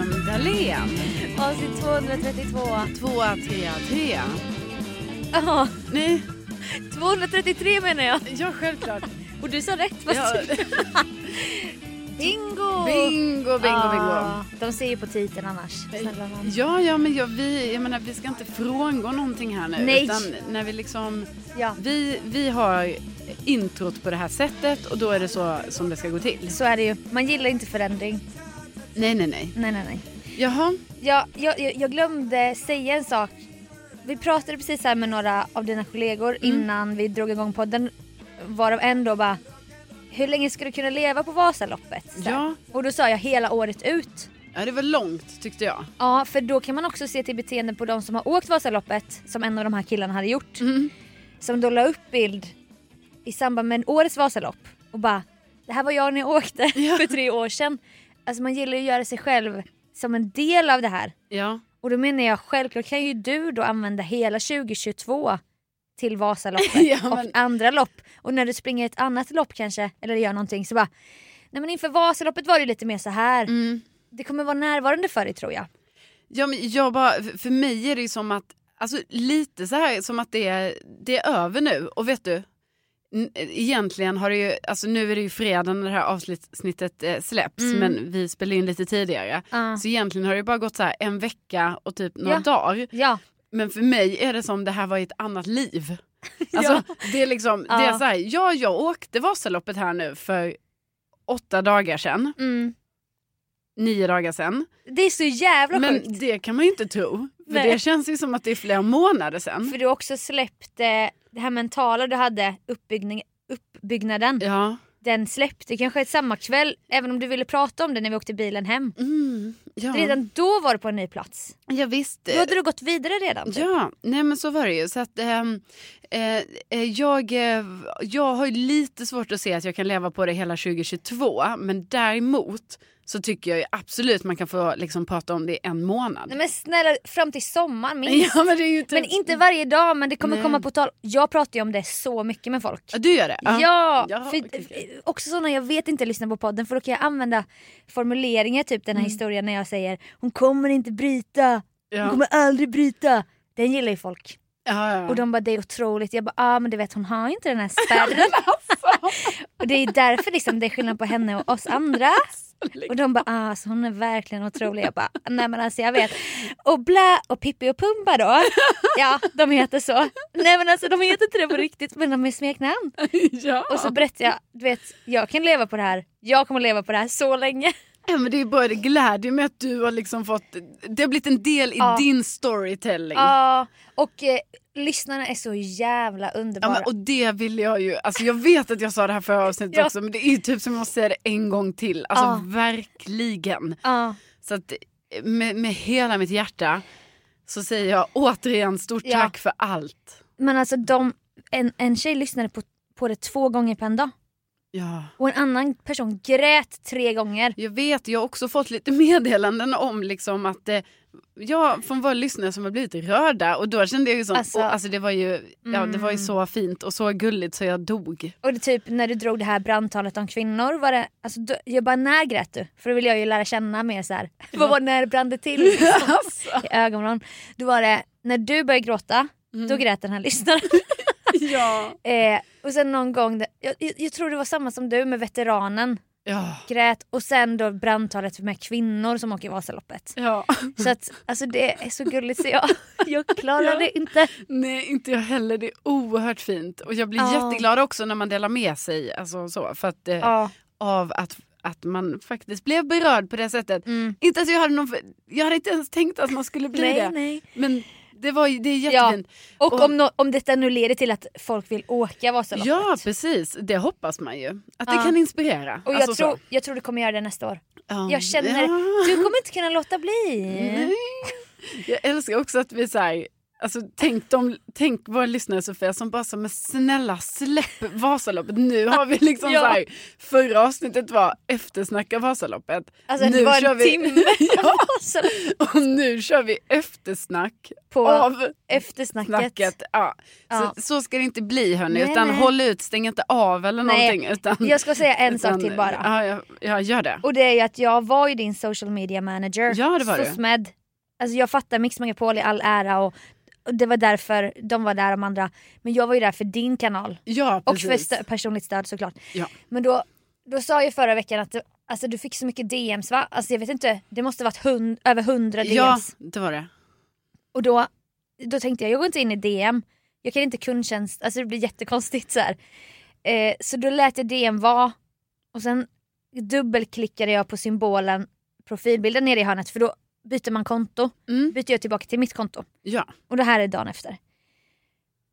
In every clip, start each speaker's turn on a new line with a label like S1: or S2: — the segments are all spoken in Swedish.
S1: Åhlén.
S2: Avsnitt 232.
S1: Tvåa, trea, trea.
S2: Ja,
S1: Nej,
S2: 233 menar jag.
S1: ja självklart.
S2: Och du sa rätt. Fast
S1: Ja,
S2: Bingo!
S1: bingo, bingo, bingo.
S2: Ah, de ser ju på titeln annars. Snälla nån.
S1: Ja, ja, men jag, vi, jag menar, vi ska inte frångå någonting här nu.
S2: Nej.
S1: Utan när vi liksom,
S2: Ja,
S1: vi, vi har introt på det här sättet och då är det så som det ska gå till.
S2: så är det ju. Man gillar inte förändring.
S1: Nej, nej, nej.
S2: Nej, nej, nej.
S1: Jaha.
S2: Ja, jag, jag, jag glömde säga en sak. Vi pratade precis här med några av dina kollegor innan vi drog igång podden. Varav en då bara, hur länge ska du kunna leva på Vasaloppet? Så här.
S1: Ja.
S2: Och då sa jag hela året ut.
S1: Ja, det var långt tyckte jag.
S2: Ja, för då kan man också se till beteenden på de som har åkt Vasaloppet, som en av de här killarna hade gjort.
S1: Mm.
S2: Som då la upp bild i samband med årets Vasalopp och bara “det här var jag när jag åkte för tre år sedan”. Alltså man gillar ju att göra sig själv som en del av det här.
S1: Ja.
S2: Och då menar jag självklart kan ju du då använda hela 2022 till Vasaloppet
S1: Ja, men-
S2: och andra lopp. Och när du springer ett annat lopp kanske, eller gör någonting så bara “nej men inför Vasaloppet var det lite mer så här.
S1: Mm.
S2: Det kommer vara närvarande för dig tror jag.
S1: Ja, men jag bara, för mig är det ju som att, alltså lite så här som att det är, det är över nu. Och vet du, n- egentligen har det ju, alltså nu är det ju fredag när det här avsnittet eh, släpps, men vi spelar in lite tidigare.
S2: Mm. Ja.
S1: Så egentligen har det ju bara gått så här en vecka och typ några
S2: Ja.
S1: dagar.
S2: Ja,
S1: Men för mig är det som det här var ett annat liv. Alltså, det är liksom, det är
S2: Ja.
S1: så här, ja jag åkte Vasaloppet här nu för åtta dagar sedan,
S2: mm.
S1: nio dagar sedan.
S2: det är så jävla
S1: Men
S2: sjukt.
S1: det kan man ju inte tro. För
S2: Nej.
S1: det känns ju som att det är flera månader sedan.
S2: För du har också släppte det här mentala du hade, uppbyggning, uppbyggnaden.
S1: Ja.
S2: Den släppte kanske samma kväll, även om du ville prata om det när vi åkte bilen hem.
S1: Mm, ja.
S2: Redan då var du på en ny plats.
S1: ja, visst.
S2: Då hade du gått vidare redan. typ.
S1: Ja, nej men så var det ju. Så att, ehm, eh, eh, jag, eh, jag har ju lite svårt att se att jag kan leva på det hela 2022. Men däremot så tycker jag ju absolut man kan få liksom, prata om det i en månad.
S2: Nej, men snälla, fram till sommaren minst.
S1: Ja, men det är ju typ...
S2: Men inte varje dag, men det kommer
S1: Nej.
S2: komma på tal. Jag pratar ju om det så mycket med folk.
S1: Ja, du gör det?
S2: Ja,
S1: Ja,
S2: för,
S1: okej, okej.
S2: också sådana jag vet inte lyssnar på podden för då kan jag använda formuleringar typ
S1: Mm.
S2: den här historien när jag säger hon kommer inte bryta, hon
S1: Ja.
S2: kommer aldrig bryta. Den gillar ju folk.
S1: Ja, ja.
S2: Och de bara det är otroligt. Jag bara ja ah, men du vet hon har ju inte den här spärren. och det är därför liksom det är skillnad på henne och oss andra. Och de bara ah, alltså, hon är verkligen otrolig. Jag bara nej men alltså jag vet. Och Blä och Pippi och Pumba då. Ja de heter så. Nej men alltså de heter inte det på riktigt men de är smeknamn.
S1: ja.
S2: Och så berättar jag, du vet, jag kan leva på det här. Jag kommer leva på det här så länge.
S1: Ja, men det är bara det glädjer mig att du har liksom fått, det har blivit en del i
S2: Ja.
S1: din storytelling.
S2: Ja, och eh, lyssnarna är så jävla underbara.
S1: Ja, men, och det vill jag ju, alltså jag vet att jag sa det här förra avsnittet
S2: Ja.
S1: också men det är ju typ som jag säger det en gång till, alltså
S2: Ja.
S1: verkligen.
S2: Ja.
S1: Så att eh, med, med hela mitt hjärta så säger jag återigen stort
S2: Ja.
S1: tack för allt.
S2: Men alltså de, en, en tjej lyssnade på, på det två gånger på en dag.
S1: Ja.
S2: Och en annan person grät tre gånger.
S1: Jag vet, jag har också fått lite meddelanden om liksom att eh, Ja, från våra lyssnare som har blivit rörda och då kände jag ju sånt,
S2: Alltså-
S1: alltså, alltså det var ju, ja det var ju
S2: Mm.
S1: så fint och så gulligt så jag dog.
S2: Och det, typ när du drog det här brandtalet om kvinnor var det, alltså, då, jag bara när grät du? För då vill jag ju lära känna mer så här. vad var det när det brann det till liksom,
S1: Alltså,
S2: i ögonen? Då var det, när du började gråta,
S1: Mm.
S2: då grät den här lyssnaren.
S1: ja.
S2: Eh, och sen någon gång, där- jag, jag, jag tror det var samma som du med veteranen,
S1: Ja.
S2: grät och sen då brandtalet med kvinnor som åker Vasaloppet.
S1: ja.
S2: Så att alltså det är så gulligt så jag, jag klarar
S1: Ja.
S2: det inte.
S1: Nej, inte jag heller. Det är oerhört fint. Och jag blir
S2: Ja.
S1: jätteglad också när man delar med sig alltså, så, för att, eh,
S2: Ja.
S1: av att, att man faktiskt blev berörd på det sättet.
S2: Mm.
S1: Inte att jag, hade någon, jag hade inte ens tänkt att man skulle bli
S2: Nej,
S1: det.
S2: nej.
S1: Men det, var, ju- det är jättefint.
S2: Och,
S1: Och-
S2: om, no, om detta nu leder till att folk vill åka
S1: Ja,
S2: Vasaloppet.
S1: precis. Det hoppas man ju. Att
S2: Ja.
S1: det kan inspirera.
S2: Och jag,
S1: Alltså,
S2: tror,
S1: så.
S2: jag tror du kommer göra det nästa år.
S1: Ja.
S2: Jag känner, Mm.
S1: Ja.
S2: du kommer inte kunna låta bli.
S1: Nej. Jag älskar också att vi så här, Alltså, tänk, de, tänk våra lyssnare Sofia som bara så, men snälla släpp Vasaloppet. Nu har vi liksom
S2: Ja.
S1: så här, förra avsnittet var eftersnacka Vasaloppet.
S2: Alltså
S1: nu
S2: det var
S1: kör
S2: en
S1: vi,
S2: timme
S1: ja,
S2: Så
S1: och nu kör vi eftersnack
S2: på
S1: av
S2: eftersnacket.
S1: snacket. Ja.
S2: Ja.
S1: Så, så ska det inte bli hörni,
S2: Nej,
S1: utan
S2: nej.
S1: håll ut, stäng inte av eller
S2: Nej,
S1: någonting. Utan,
S2: Jag ska säga en
S1: utan,
S2: sak till bara.
S1: Ja, jag, jag gör det.
S2: Och det är ju att jag var ju din social media manager.
S1: Ja, det var du.
S2: SOSMED. Alltså jag fattar Mix Megapol i all ära och och det var därför de var där de andra. Men jag var ju där för din kanal.
S1: Ja,
S2: Och
S1: precis.
S2: för stö- personligt stöd såklart.
S1: Ja.
S2: Men då, då sa jag förra veckan att du, alltså, du fick så mycket DMs va? Alltså jag vet inte, det måste varit hund- över 100 DMs.
S1: Ja, det var det.
S2: Och då, då tänkte jag, jag går inte in i DM. Jag kan inte kundtjänst, alltså det blir jättekonstigt så här. Eh, så då lät jag DM vara. Och sen dubbelklickade jag på symbolen profilbilden nere i hörnet för då byter man konto.
S1: Mm.
S2: Byter jag tillbaka till mitt konto.
S1: Ja.
S2: Och det här är dagen efter.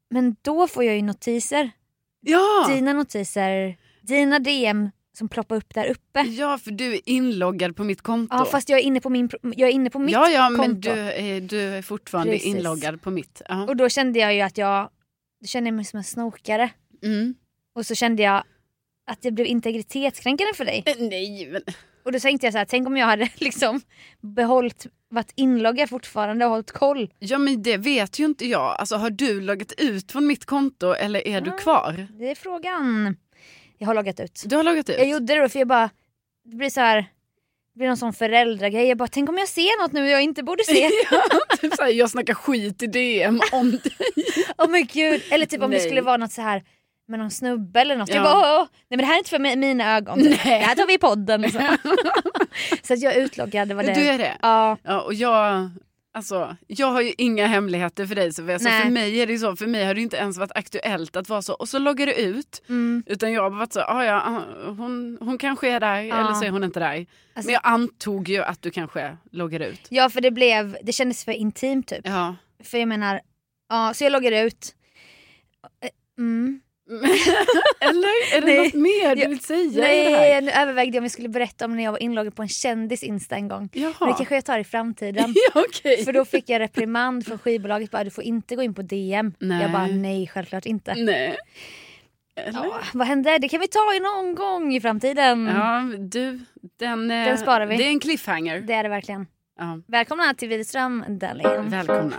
S2: Men då får jag ju notiser.
S1: Ja.
S2: Dina notiser, dina DM som ploppar upp där uppe.
S1: ja, för du är inloggad på mitt konto.
S2: Ja fast jag är inne på, min, pro- jag är inne på mitt
S1: ja, ja, men
S2: konto.
S1: du, är- du är fortfarande
S2: Precis.
S1: inloggad på mitt. Ja.
S2: Och då kände jag ju att jag, då kände jag mig som en snokare.
S1: Mm.
S2: Och så kände jag att det blev integritetskränkande för dig.
S1: Eh, Nej, men...
S2: Och då tänkte jag så här, tänk om jag hade liksom behållit, varit inloggad fortfarande och hållit koll.
S1: Ja, men det vet ju inte jag. Alltså, har du loggat ut från mitt konto eller är du
S2: Ah.
S1: kvar?
S2: Det är frågan. Jag har loggat ut.
S1: Du har loggat ut?
S2: Jag gjorde det då för jag bara, det blir så här, det blir någon sån föräldragrej. Jag bara, tänk om jag ser något nu jag inte borde se.
S1: Ja, typ såhär, jag snackar skit i DM om dig.
S2: Åh men gud. Eller typ om det
S1: Nej.
S2: skulle vara något så här med någon snubbe eller något. Jag
S1: Ja.
S2: bara, åh, åh. nej men det här är inte för mi- mina ögon. typ. Det här tar vi i podden. Så, så att jag utloggade det var det.
S1: Du är det?
S2: Ja.
S1: Ja, och jag, alltså, jag har ju inga hemligheter för dig Sofia. Så
S2: Nej.
S1: för mig är det ju så, för mig har det ju inte ens varit aktuellt att vara så. Och så loggar du ut.
S2: Mm.
S1: Utan jag har bara varit så, ah, ja, ah, hon, hon kanske är där
S2: Ja.
S1: eller så är hon inte där.
S2: Alltså-
S1: Men jag antog ju att du kanske loggar ut.
S2: Ja för det blev, det kändes för intimt typ.
S1: Ja.
S2: För jag menar, ja så jag loggade ut. Eh, Mm.
S1: Eller är det
S2: Nej.
S1: något mer
S2: Ja.
S1: du vill säga i det här?
S2: Nej nu övervägde jag om jag skulle berätta om när jag var inloggad på en kändis insta en gång. Men det
S1: Jaha.
S2: kanske jag tar i framtiden.
S1: ja, okej.
S2: För då fick jag reprimand från skivbolaget bara du får inte gå in på DM.
S1: Nej.
S2: Jag bara nej självklart inte.
S1: Nej. Eller?
S2: Ja, vad hände? Det kan vi ta i någon gång i framtiden.
S1: Ja, du, den, eh,
S2: Mm. Den sparar vi.
S1: Det är en cliffhanger.
S2: Det är det verkligen.
S1: Ja.
S2: Välkomna till Widerström Dahlén.
S1: Välkomna.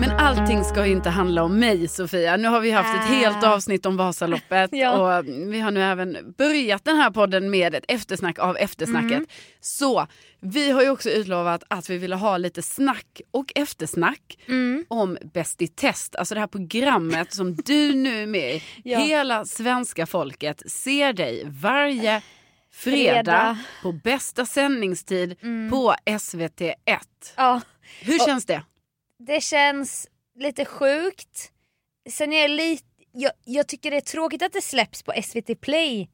S1: Men allting ska ju inte handla om mig Sofia. Nu har vi haft ett
S2: Ah.
S1: helt avsnitt om Vasaloppet
S2: Ja.
S1: och vi har nu även börjat den här podden med ett eftersnack av eftersnacket.
S2: Mm.
S1: Så vi har ju också utlovat att vi ville ha lite snack och eftersnack
S2: Mm.
S1: om Bäst i test, alltså det här programmet som du nu är med i.
S2: Ja.
S1: Hela svenska folket ser dig varje fredag,
S2: Fredag.
S1: på bästa sändningstid på SVT1.
S2: mm. Ja.
S1: Hur
S2: Och-
S1: känns det?
S2: Det känns lite sjukt. Sen är jag lite... Jag, jag tycker det är tråkigt att det släpps på SVT Play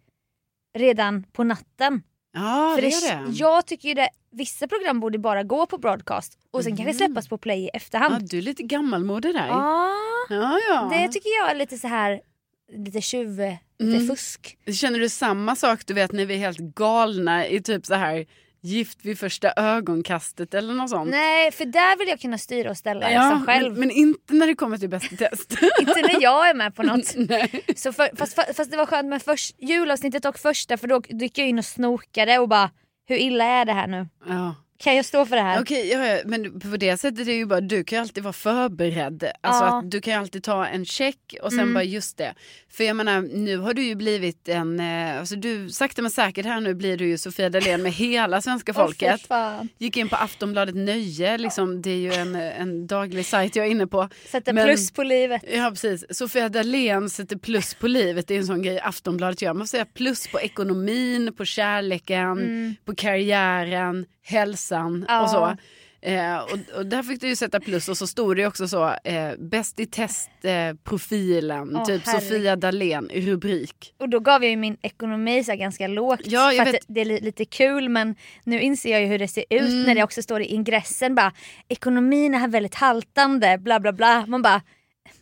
S2: redan på natten.
S1: Ja,
S2: För
S1: det är det.
S2: Jag tycker ju det, vissa program borde bara gå på broadcast och sen
S1: Mm.
S2: kanske släppas på play i
S1: Ja,
S2: efterhand.
S1: du är lite gammalmodig där.
S2: Ja,
S1: Ja, ja.
S2: det tycker jag är lite så här lite tjuv, lite
S1: Mm.
S2: fusk.
S1: Känner du samma sak du vet när vi är helt galna i typ så här Gift vid första ögonkastet eller något sånt?
S2: Nej, för där vill jag kunna styra och ställa
S1: Ja,
S2: ja, själv.
S1: Men, men inte när det kommer till Bäst i test.
S2: Inte när jag är med på något.
S1: Nej.
S2: Så för, fast, fa- fast det var skönt med först, julavsnittet och första för då gick jag in och snokade och bara hur illa är det här nu?
S1: Ja.
S2: Kan jag stå för det här?
S1: Okej, ja, ja, men på det sättet är det ju bara, du kan ju alltid vara förberedd. Alltså
S2: Ja.
S1: att du kan ju alltid ta en check och sen
S2: Mm.
S1: bara just det. För jag menar, nu har du ju blivit en, eh, alltså du, sakta men säkert här nu blir du ju Sofia Dalén med hela svenska
S2: Åh, fy
S1: folket.
S2: fan.
S1: Gick in på Aftonbladet Nöje, liksom, det är ju en, eh, en daglig sajt jag är inne på.
S2: Sätta
S1: Men-
S2: plus på livet.
S1: Ja precis, Sofia Dalén sätter plus på livet, det är en sån grej Aftonbladet gör. Man får säga plus på ekonomin, på kärleken, på karriären, hälsan
S2: Mm. Ja.
S1: och så. Eh, och, och där fick du ju sätta plus och så stod det ju också så, eh, bäst i test-profilen, eh, profilen,
S2: Åh,
S1: typ
S2: herregud.
S1: Sofia Dalén i rubrik.
S2: Och då gav jag ju min ekonomi så här ganska lågt.
S1: Ja, jag
S2: för att
S1: vet. Mm.
S2: det, det är li- lite kul men nu inser jag ju hur det ser ut när det också står i ingressen bara ekonomin är här väldigt haltande bla bla bla. Man bara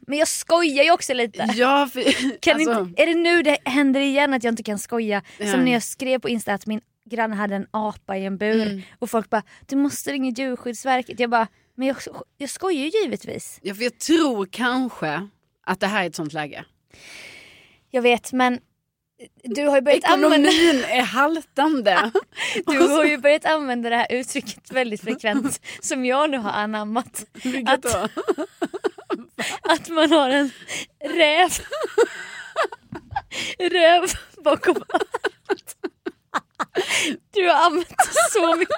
S2: men jag skojar ju också lite.
S1: Ja, för,
S2: Kan
S1: alltså,
S2: inte, är det nu det händer igen att jag inte kan skoja?
S1: Nej.
S2: Som när jag skrev på Insta att min granne hade en apa i en bur
S1: Mm.
S2: och folk bara du måste ringa djurskyddsverket. Jag bara men jag, jag skojar ju givetvis.
S1: Ja, för jag tror kanske att det här är ett sånt läge.
S2: Jag vet men du har ju börjat använda
S1: Ekonomin är haltande.
S2: Du har ju börjat använda det här uttrycket väldigt frekvent som jag nu har anammat.
S1: Vilket då?
S2: Att man har en räv, räv bakom allt. Du har använt det så mycket.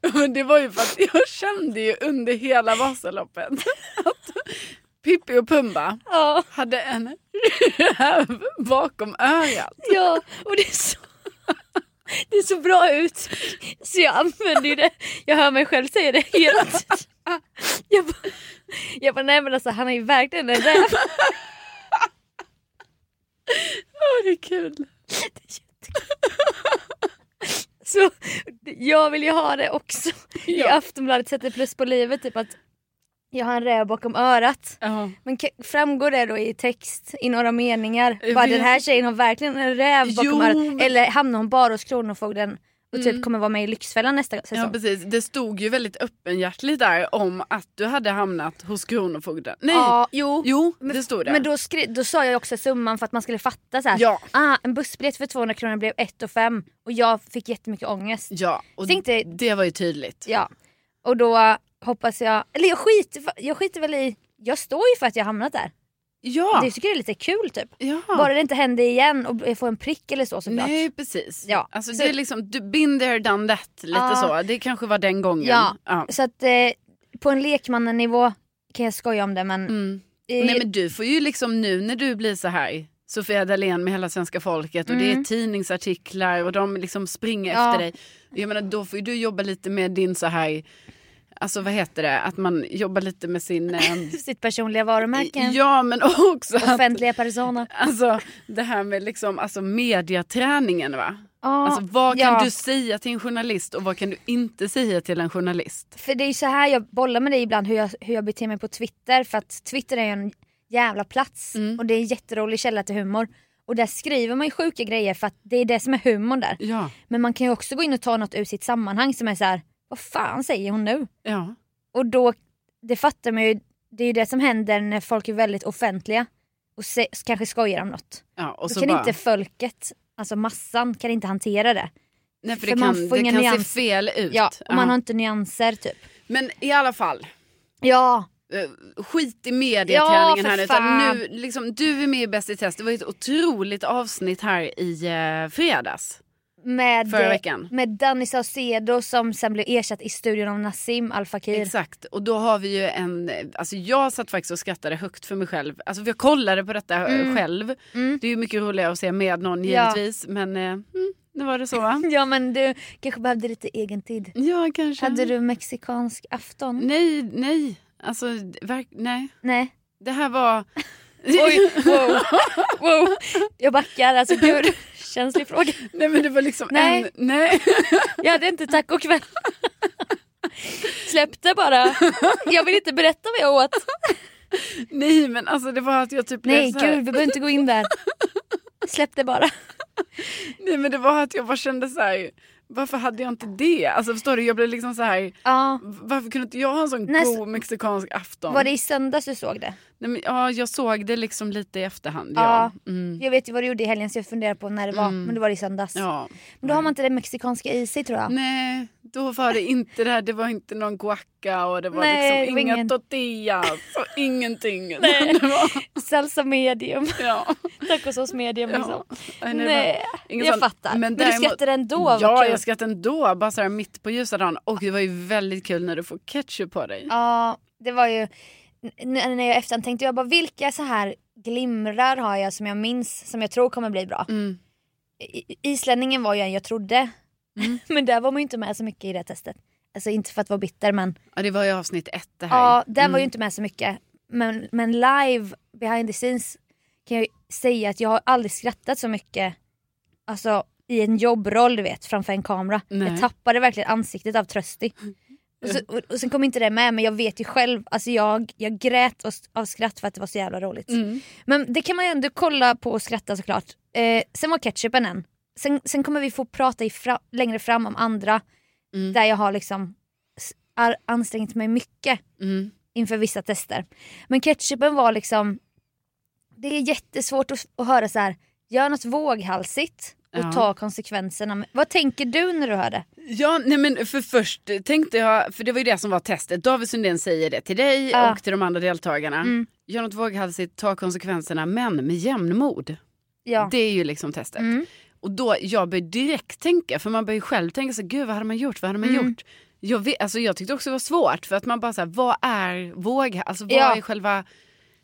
S1: Ja, Men det var ju för att jag kände ju under hela Vasaloppet att Pippi och Pumba
S2: Ja,
S1: hade en räv bakom örat.
S2: ja. och det är så, det är så bra ut. Så jag använder ju det. Jag hör mig själv säga det hela tiden. Jag bara, jag bara nej men alltså han är ju verkligen en räv.
S1: Åh, det är kul.
S2: Så jag vill ju ha det också. I
S1: Ja.
S2: Aftonbladet sätter plus på livet typ att jag har en räv bakom örat.
S1: Ja.
S2: Men ka- framgår det då i text i några meningar?
S1: Jag
S2: Bara
S1: vet
S2: den här tjejen har verkligen en räv bakom
S1: Jo, men- Mm.
S2: örat. Eller hamnar hon bara hos Kronofogden och typ kommer vara med i Lyxfällan nästa
S1: ja,
S2: säsong?
S1: precis. Det stod ju väldigt öppenhjärtligt där om att du hade hamnat hos Kronofogden. Nej,
S2: Ja, jo.
S1: jo,
S2: Men-
S1: det stod det.
S2: Men då, skri- då sa jag också summan för att man skulle fatta så här.
S1: Ja.
S2: Ah, en bussbiljett för 200 kronor blev 1 och 5 och jag fick jättemycket ångest.
S1: Ja, och
S2: Tänkte-
S1: det var ju tydligt.
S2: Ja. Och då hoppas jag, eller jag skiter, jag skiter väl i, jag står ju för att jag hamnat där.
S1: Ja,
S2: Det tycker det är lite kul typ.
S1: ja.
S2: Bara det inte händer igen och jag får en prick eller så såklart.
S1: Nej precis.
S2: Ja,
S1: Alltså,
S2: så-
S1: det är liksom du, been there done that. Lite
S2: Ja.
S1: så. Det kanske var den gången.
S2: Ja.
S1: Ja.
S2: Så att eh, på en lekmannanivå kan jag skoja om det men...
S1: Mm.
S2: eh,
S1: Nej men du får ju liksom nu när du blir så här Sofia Dalén med hela svenska folket och det är
S2: Mm.
S1: tidningsartiklar och de liksom springer
S2: Ja.
S1: efter dig. Jag menar då får ju du jobba lite med din så här, alltså vad heter det, att man jobbar lite med sin... eh,
S2: Sitt personliga varumärke.
S1: ja men också att,
S2: Offentliga persona.
S1: alltså det här med liksom alltså mediaträningen va?
S2: Ja,
S1: Alltså vad kan
S2: ja.
S1: du säga till en journalist och vad kan du inte säga till en journalist?
S2: För det är ju så här jag bollar med dig ibland hur jag, hur jag beter mig på Twitter för att Twitter är ju en jävla plats
S1: Mm.
S2: och det är en jätterolig källa till humor. Och där skriver man ju sjuka grejer för att det är det som är humorn där.
S1: Ja,
S2: Men man kan ju också gå in och ta något ur sitt sammanhang som är så här, vad fan säger hon nu?
S1: ja,
S2: Och då, det fattar man ju, det är ju det som händer när folk är väldigt offentliga och se, kanske skojar om något.
S1: ja. Och
S2: Då
S1: så
S2: kan
S1: bara,
S2: inte folket, alltså massan kan inte hantera det.
S1: nej, för det kan,
S2: för man får
S1: det
S2: ingen
S1: kan se
S2: nyans.
S1: fel ut.
S2: Ja, och man
S1: Ja.
S2: har inte nyanser typ.
S1: Men i alla fall,
S2: Ja,
S1: eh, skit i mediaträningen här
S2: Ja, för
S1: nu. Utan
S2: fan.
S1: nu liksom, du är med i Bäst i test. Det var ju ett otroligt avsnitt här i eh, fredags.
S2: med,
S1: Förra veckan.
S2: med Danny Saucedo som sen blev ersatt i studion av Nassim Al Fakir.
S1: Exakt, och då har vi ju en, alltså jag satt faktiskt och skrattade högt för mig själv. Alltså jag kollade på detta eh,
S2: Mm.
S1: själv.
S2: Mm.
S1: Det är ju mycket roligare att se med någon
S2: Ja.
S1: givetvis. Men eh, mm, nu var det så va?
S2: Ja men du kanske behövde lite egen tid.
S1: Ja kanske.
S2: Hade du mexikansk afton?
S1: Nej, nej. Alltså, verk... nej.
S2: Nej.
S1: Det här var...
S2: Oj, wow. wow. Jag backar, alltså gud. Känslig fråga.
S1: nej men det var liksom
S2: Nej.
S1: en... Nej.
S2: Jag hade inte tacokväll. Släppte bara. Jag vill inte berätta vad jag åt.
S1: nej men alltså det var att jag typ blev
S2: Nej
S1: så här-
S2: gud, vi behöver inte gå in där. Släppte bara.
S1: Nej men det var att jag bara kände så här. Varför hade jag inte det? Alltså förstår du? Jag blev liksom så här.
S2: Ja.
S1: Varför kunde inte jag ha en sån
S2: Nej,
S1: god mexikansk afton?
S2: Var det i söndags du såg det?
S1: Nej, men, ja, jag såg det liksom lite i efterhand. Ja.
S2: Ja.
S1: Mm.
S2: Jag vet ju vad du gjorde i helgen så jag funderar på när det var. Men det var i söndags.
S1: ja.
S2: Men då har man inte det mexikanska i sig tror jag.
S1: Nej, då var det inte det här. Det var inte någon guacca och det var
S2: Nej, det
S1: liksom
S2: var
S1: inga
S2: ingen-
S1: tortillas och ingenting.
S2: Nej.
S1: Det var,
S2: Salsa medium,
S1: ja.
S2: tacosås medium liksom.
S1: Nej, det var
S2: Nej,
S1: ingen
S2: jag
S1: sån-
S2: fattar. Men,
S1: däremot-
S2: du skrattar ändå? vad
S1: Ja,
S2: kul.
S1: jag skrattade ändå. Bara så här mitt på ljusa dagen. Och det var ju väldigt kul när du får ketchup på dig.
S2: Ja, det var ju... n- När jag i efterhand tänkte jag bara vilka så här glimrar har jag som jag minns som jag tror kommer bli bra.
S1: Mm.
S2: I- Islänningen var ju en jag trodde.
S1: Mm.
S2: men där var man ju inte med så mycket i det testet. Alltså inte för att vara bitter men
S1: Ja, det var ju avsnitt ett det här.
S2: ja, där var
S1: Mm.
S2: ju inte med så mycket. Men, men live behind the scenes kan jag ju säga att jag har aldrig skrattat så mycket alltså i en jobbroll du vet framför en kamera.
S1: Nej.
S2: Jag tappade verkligen ansiktet av Trösti. Och, så, och, och sen kom inte det med men jag vet ju själv, alltså jag, jag grät av, av skratt för att det var så jävla roligt.
S1: Mm.
S2: Men det kan man ju ändå kolla på och skratta såklart. Eh, sen var ketchupen en. sen, sen kommer vi få prata i fra, längre fram om andra
S1: Mm.
S2: där jag har liksom s- ar- ansträngt mig mycket
S1: Mm.
S2: inför vissa tester. Men ketchupen var liksom, det är jättesvårt att, att höra så här. gör något våghalsigt och
S1: Ja.
S2: ta konsekvenserna. Men Vad tänker du när du hör det?
S1: Ja, nej men för först tänkte jag, för det var ju det som var testet. David Sundin säger det till dig
S2: Ja.
S1: och till de andra deltagarna.
S2: Mm.
S1: Gör något våghalsigt, ta konsekvenserna, men med jämnmod.
S2: Ja.
S1: Det är ju liksom testet.
S2: Mm.
S1: Och då, jag började direkt tänka, för man börjar ju själv tänka så gud vad hade man gjort, vad hade man
S2: Mm.
S1: gjort? Jag, vet, alltså, jag tyckte också det var svårt, för att man bara så här, vad är våg, alltså vad
S2: Ja.
S1: är själva...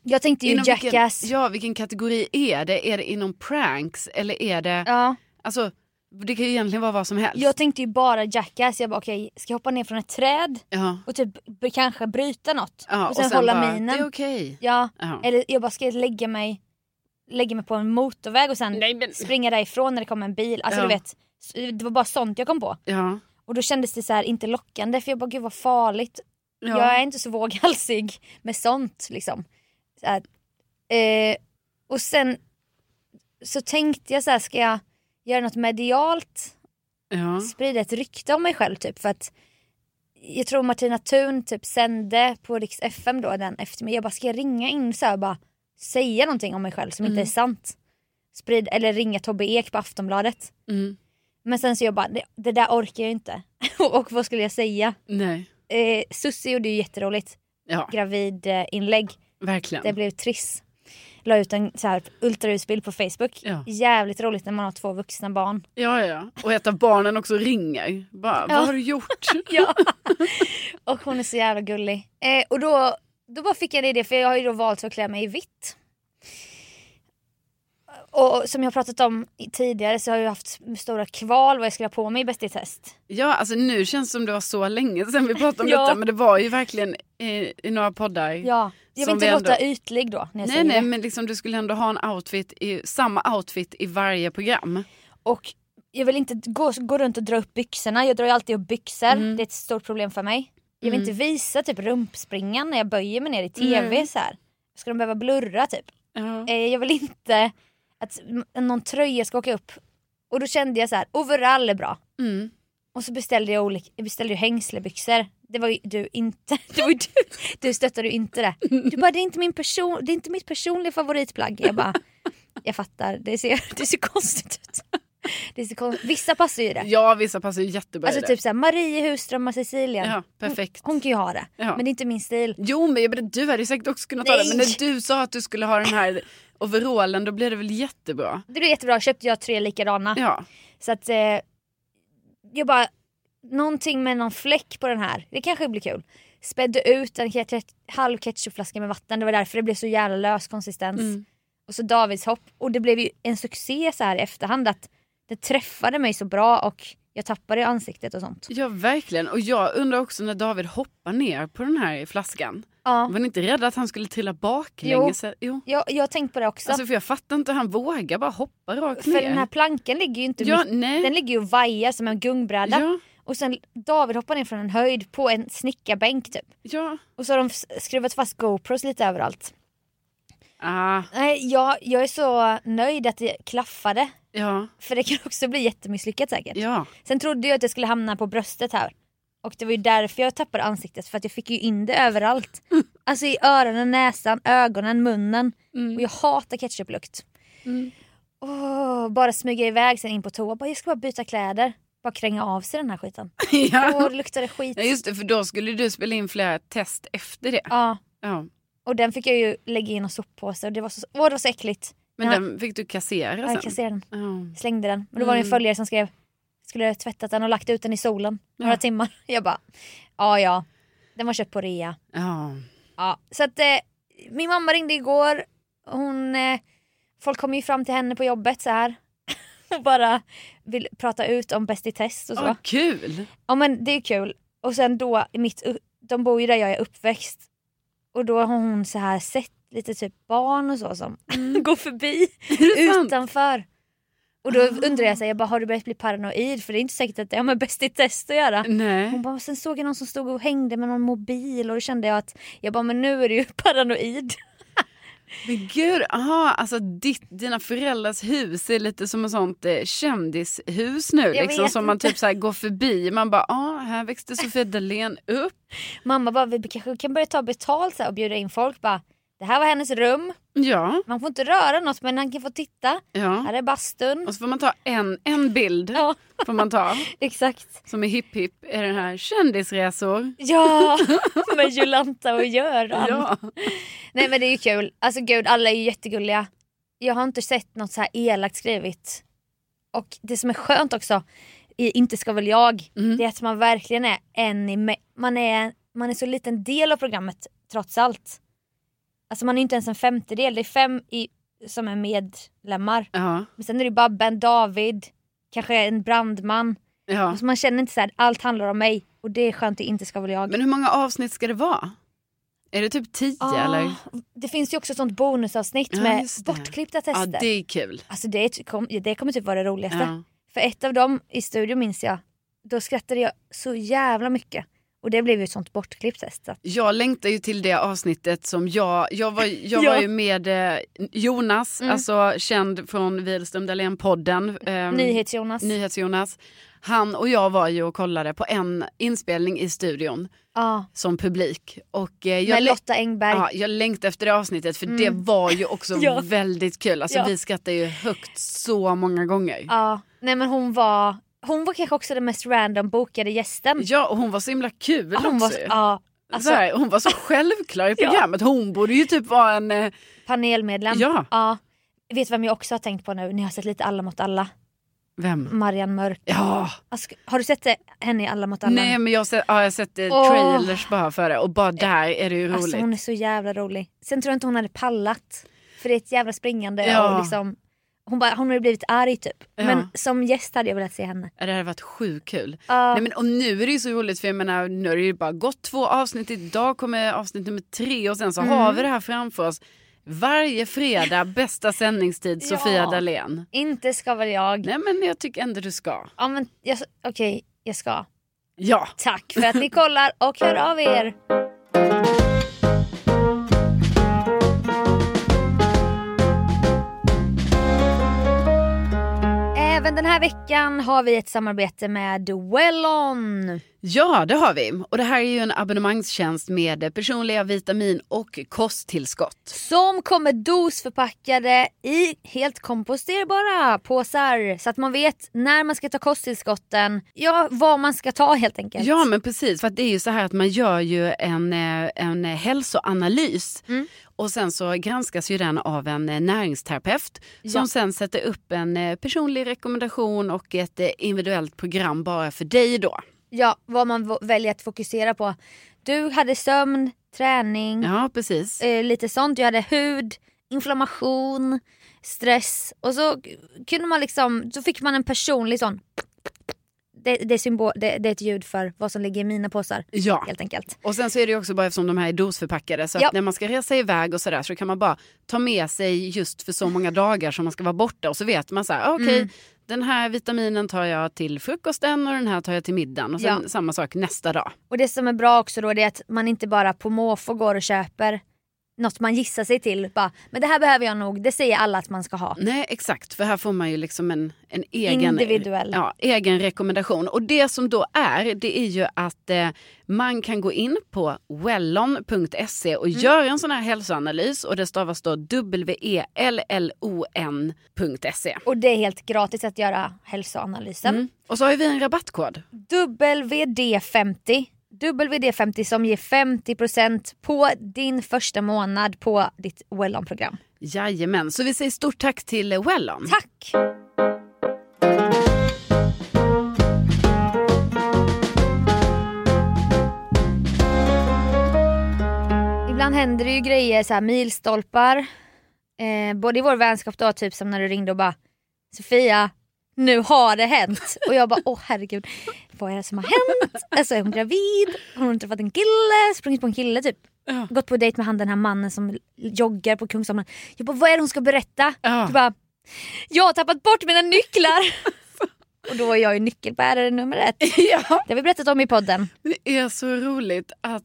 S2: Jag tänkte ju
S1: inom
S2: Jackass.
S1: Vilken, ja, vilken kategori är det? Är det inom pranks eller är det,
S2: Ja.
S1: alltså det kan ju egentligen vara vad som helst.
S2: Jag tänkte ju bara Jackass, jag bara okej ska jag hoppa ner från ett träd
S1: ja.
S2: och typ b- kanske bryta något
S1: Ja,
S2: och sen, hålla
S1: bara,
S2: minen.
S1: Det är okej.
S2: Ja,
S1: Ja.
S2: eller jag bara ska jag lägga mig, lägga mig på en motorväg och sen
S1: Nej, men...
S2: springa därifrån när det kommer en bil. Alltså
S1: Ja.
S2: du vet, s- det var bara sånt jag kom på.
S1: Ja.
S2: Och då kändes det så här inte lockande för jag bara gud vad farligt.
S1: Ja.
S2: Jag är inte så våghalsig med sånt liksom. Så här. Eh, och sen så tänkte jag så här ska jag göra något medialt
S1: ja.
S2: sprida ett rykte om mig själv typ för att jag tror Martina Thun typ sände på Rix FM då den eftermiddagen. Jag bara ska jag ringa in så här och bara säga någonting om mig själv som inte
S1: Mm.
S2: är sant. Sprid, eller ringa Tobbe Ek på Aftonbladet.
S1: Mm.
S2: Men sen så jag bara det, det där orkar jag inte. och vad skulle jag säga?
S1: Nej.
S2: Eh, Susie gjorde ju jätteroligt
S1: Ja,
S2: gravidinlägg.
S1: verkligen.
S2: Det blev triss. La ut en så här ultraljudsbild på Facebook.
S1: Ja.
S2: Jävligt roligt när man har två vuxna barn.
S1: Ja, ja, ja. Och ett av barnen också ringer. Bara,
S2: Ja.
S1: Vad har du gjort?
S2: Ja. och hon är så jävla gullig. Eh, och då, då bara fick jag en idé för jag har ju då valt att klä mig i vitt. Och som jag har pratat om i- tidigare så har jag haft stora kval vad jag skulle ha på mig i Bäst i test.
S1: ja, alltså nu känns det som det var så länge sedan vi pratade om
S2: Ja.
S1: detta. Men det var ju verkligen i, i några poddar.
S2: Ja. Jag vill
S1: Som
S2: inte
S1: vi
S2: låta
S1: ändå-
S2: ytlig då. När jag
S1: Nej,
S2: säger
S1: nej,
S2: det.
S1: men liksom, du skulle ändå ha en outfit i, samma outfit i varje program.
S2: Och jag vill inte gå, gå runt och dra upp byxorna. Jag drar ju alltid upp byxor.
S1: Mm.
S2: Det är ett stort problem för mig. Jag vill
S1: Mm.
S2: inte visa typ rumpspringan när jag böjer mig ner i tv
S1: Nej.
S2: så här. Ska de behöva blurra typ?
S1: Ja.
S2: Eh, jag vill inte att m- någon tröja ska åka upp. Och då kände jag så här, overall är bra.
S1: Mm.
S2: Och så beställde jag, olika, jag beställde ju hängslebyxor. Det var ju du inte. Det var ju du, du stöttade ju inte det. Du bara, det är inte, min person, det är inte mitt personliga favoritplagg. Jag bara, jag fattar. Det ser, det ser konstigt ut. Det ser kon- Vissa passar ju det.
S1: ja, vissa passar ju jättebra i
S2: Alltså
S1: det.
S2: typ såhär Marie Husström Cecilia.
S1: Ja, perfekt.
S2: Hon kan ju ha det.
S1: Ja.
S2: Men det är inte min stil.
S1: Jo, men jag menar, du hade ju säkert också kunnat ta det. Men
S2: Nej.
S1: när du sa att du skulle ha den här overallen, då blev det väl jättebra.
S2: Det blev jättebra, köpte jag tre likadana.
S1: Ja.
S2: Så att eh, jag bara, någonting med någon fläck på den här, det kanske blir kul. Spädde ut en ket- halv ketchupflaska med vatten, det var därför det blev så jävla lös konsistens.
S1: Mm.
S2: Och så Davids hopp och det blev ju en succé så här i efterhand att det träffade mig så bra och jag tappade i ansiktet och sånt.
S1: Ja, verkligen. Och jag undrar också när David hoppar ner på den här flaskan.
S2: Ja,
S1: Var ni inte rädda att han skulle trilla
S2: Jo.
S1: baklänges? Jo.
S2: jag, jag har tänkt på det också.
S1: Alltså, för jag fattar inte, han vågar bara hoppa rakt
S2: för
S1: ner.
S2: den här plankan ligger ju inte
S1: ja,
S2: mitt, den
S1: nej.
S2: ligger ju och vajar som en gungbräda.
S1: Ja,
S2: Och sen David hoppar ner från en höjd på en snickarbänk typ.
S1: ja.
S2: Och så har de s- skruvat fast GoPros lite överallt.
S1: Ah,
S2: Nej, jag, jag är så nöjd att det klaffade.
S1: ja,
S2: För det kan också bli jättemisslyckat säkert.
S1: ja.
S2: Sen trodde jag att jag skulle hamna på bröstet här. Och det var ju därför jag tappade ansiktet för att jag fick ju in det överallt. Alltså i öronen, näsan, ögonen, munnen. Och
S1: Mm.
S2: jag hatar ketchuplukt.
S1: Mm.
S2: Åh, bara smyga iväg sen in på toa. Bara, jag ska bara byta kläder. Bara kränga av sig den här skiten. Åh,
S1: ja.
S2: det luktade skit.
S1: Ja, just det, för då skulle du spela in flera test efter det.
S2: Ja,
S1: Ja.
S2: och den fick jag ju lägga i någon soppåse och det var så, åh, det var så äckligt.
S1: Men
S2: Ja.
S1: den fick du kassera
S2: Ja, Jag
S1: sen.
S2: kasserade den.
S1: Ja.
S2: slängde den. Men då var det en
S1: Mm.
S2: följare som skrev skulle jag tvättat den och lagt ut den i solen några
S1: Ja.
S2: timmar. Jag bara, ja ja. Den var köpt på rea.
S1: Ja.
S2: Ja. Så att eh, min mamma ringde igår. Hon, eh, folk kommer ju fram till henne på jobbet så här. och bara vill prata ut om Bäst i test och så.
S1: Åh, kul!
S2: Ja men det är kul. Och sen då, i mitt, u- de bor ju där jag är uppväxt. Och då har hon så här sett lite typ barn och så som går förbi
S1: Mm. det sant? Ah.
S2: utanför. Och då undrar jag, så här, jag bara, har du börjat bli paranoid? För det är inte säkert att det har med Bäst i test att göra.
S1: Mm.
S2: Hon
S1: Nej.
S2: bara, sen såg jag någon som stod och hängde med någon mobil och då kände jag att, jag bara men nu är du ju paranoid.
S1: Men gud, aha, alltså ditt, dina föräldrars hus är lite som ett sånt eh, kändishus nu.
S2: Jag
S1: Liksom,
S2: vet
S1: som man typ så här går förbi. Man bara, ah, här växte Sofia Dalén upp.
S2: Mamma bara, vi kanske kan börja ta betalt så här, och bjuda in folk. Bara, det här var hennes rum.
S1: Ja,
S2: Man får inte röra något men han kan få titta.
S1: ja.
S2: Här är bastun.
S1: Och så får man ta en, en bild.
S2: Ja,
S1: Får man ta.
S2: exakt.
S1: Som är hipp hipp är den här kändisresor.
S2: Ja, med Jolanta och Göran.
S1: Ja.
S2: Nej men det är ju kul. Alltså gud, alla är ju jättegulliga. Jag har inte sett något så här elakt skrivet. Och det som är skönt också, i Inte ska väl jag,
S1: Mm.
S2: det är att man verkligen är en i mä- man är, man är så liten del av programmet trots allt. Alltså man är ju inte ens en femtedel, det är fem i, som är medlemmar.
S1: Ja.
S2: Men sen är det ju Babben, David, kanske en brandman.
S1: ja.
S2: Alltså man känner inte så här, allt handlar om mig. Och det är skönt i Inte ska väl jag.
S1: Men hur många avsnitt ska det vara? Är det typ tio
S2: Ah,
S1: eller?
S2: Det finns ju också ett sånt bonusavsnitt
S1: Ja,
S2: med
S1: just det.
S2: bortklippta
S1: Ja,
S2: tester.
S1: det är kul.
S2: Alltså det, ty- kom, det kommer typ vara det roligaste.
S1: Ja.
S2: För ett av dem i studion minns jag, då skrattade jag så jävla mycket. Och det blev ju ett sånt bortklippt test. Så. att-
S1: Jag längtar ju till det avsnittet som jag... Jag var, jag
S2: Ja.
S1: var ju med eh, Jonas,
S2: Mm.
S1: alltså känd från Wihlström Dahlén-podden. ehm,
S2: Nyhets-Jonas.
S1: Nyhets-Jonas. Han och jag var ju och kollade på en inspelning i studion
S2: ja,
S1: som publik. Och, eh, jag
S2: med
S1: lä-
S2: Lotta Engberg.
S1: Ja, jag längtade efter det avsnittet för
S2: Mm.
S1: det var ju också
S2: Ja.
S1: väldigt kul. Alltså,
S2: Ja.
S1: Vi skrattade ju högt så många gånger.
S2: Ja. Nej men hon var, hon var kanske också den mest random bokade gästen.
S1: Ja, och hon var så himla kul
S2: hon
S1: också.
S2: var, ja, alltså,
S1: så här, hon var så självklar i
S2: Ja.
S1: programmet. Hon borde ju typ vara en... eh,
S2: panelmedlem.
S1: Ja.
S2: Vet du vem jag också har tänkt på nu? Ni har sett lite Alla mot alla.
S1: Vem?
S2: Marianne Mörk.
S1: Ja,
S2: Alltså, har du sett det? henne i Alla mot alla?
S1: nej men jag har sett, ja, jag har sett eh,
S2: Åh. Eh,
S1: trailers bara för det och bara där är det ju roligt.
S2: Alltså hon är så jävla rolig. Sen tror jag inte hon hade pallat. För det är ett jävla springande.
S1: Ja.
S2: Och liksom, hon, bara, hon hade blivit arg typ.
S1: Ja.
S2: Men som gäst hade jag velat se henne.
S1: Ja, Det hade varit sjukt kul.
S2: Ja.
S1: Nej, men, och nu är det ju så roligt för jag menar, nu har det ju bara gått två avsnitt. Idag kommer avsnitt nummer tre och sen så
S2: Mm.
S1: har vi det här framför oss. Varje fredag, bästa sändningstid, Sofia
S2: Ja.
S1: Dalén.
S2: Inte ska väl jag.
S1: Nej men jag tycker ändå du ska.
S2: Ja, men jag Okej, jag ska.
S1: Ja.
S2: Tack för att ni kollar och hör av er. Även den här veckan har vi ett samarbete med Wellon.
S1: Ja, det har vi. Och det här är ju en abonnemangstjänst med personliga vitamin och kosttillskott.
S2: Som kommer dosförpackade i helt komposterbara påsar. Så att man vet när man ska ta kosttillskotten. Ja, vad man ska ta helt enkelt.
S1: Ja, men precis. För att det är ju så här att man gör ju en, eh, en eh, hälsoanalys.
S2: Mm.
S1: Och sen så granskas ju den av en eh, näringsterapeut som
S2: Ja.
S1: sen sätter upp en eh, personlig rekommendation och ett eh, individuellt program bara för dig då.
S2: ja, vad man v- väljer att fokusera på. Du hade sömn, träning,
S1: Ja, precis.
S2: eh, lite sånt. Jag hade hud, inflammation, stress. Och så k- kunde man liksom, så fick man en personlig sån. Det, det, är symbol, det, det är ett ljud för vad som ligger i mina påsar
S1: Ja.
S2: helt enkelt.
S1: Och sen så är det ju också bara eftersom de här är dosförpackade så att
S2: Ja.
S1: när man ska resa iväg och sådär så kan man bara ta med sig just för så många dagar som man ska vara borta och så vet man så här, ah, okej
S2: Mm.
S1: den här vitaminen tar jag till frukosten och den här tar jag till middagen och sen
S2: Ja.
S1: samma sak nästa dag.
S2: Och det som är bra också då det är att man inte bara på måfå går och köper något man gissar sig till. Bara, men det här behöver jag nog, det säger alla att man ska ha.
S1: Nej exakt för här får man ju liksom en, en egen,
S2: Individuell.
S1: ja, egen rekommendation. Och det som då är det är ju att eh, man kan gå in på wellon.se
S2: Mm.
S1: och göra en sån här hälsoanalys och det stavas då E W-E-L-L-O-N.se.
S2: Och det är helt gratis att göra hälsoanalysen.
S1: Mm. Och så har vi en rabattkod.
S2: WD50. WD50 som ger 50% på din första månad på ditt Wellon-program.
S1: Jajamän, så vi säger stort tack till eh, Wellon.
S2: Tack! Ibland händer det ju grejer, så här milstolpar. Eh, både i vår vänskap då, typ som när du ringde och bara Sofia, nu har det hänt. Och jag bara, åh herregud, vad är det som har hänt? Alltså är hon gravid? Har hon träffat en kille? Sprungit på en kille typ?
S1: Ja.
S2: Gått på dejt med han den här mannen som joggar på Kungsholmen. Jag bara, vad är det hon ska berätta?
S1: Ja.
S2: Du bara, jag har tappat bort mina nycklar. och då är jag ju nyckelbärare nummer ett.
S1: ja,
S2: Det har vi berättat om i podden.
S1: det är så roligt att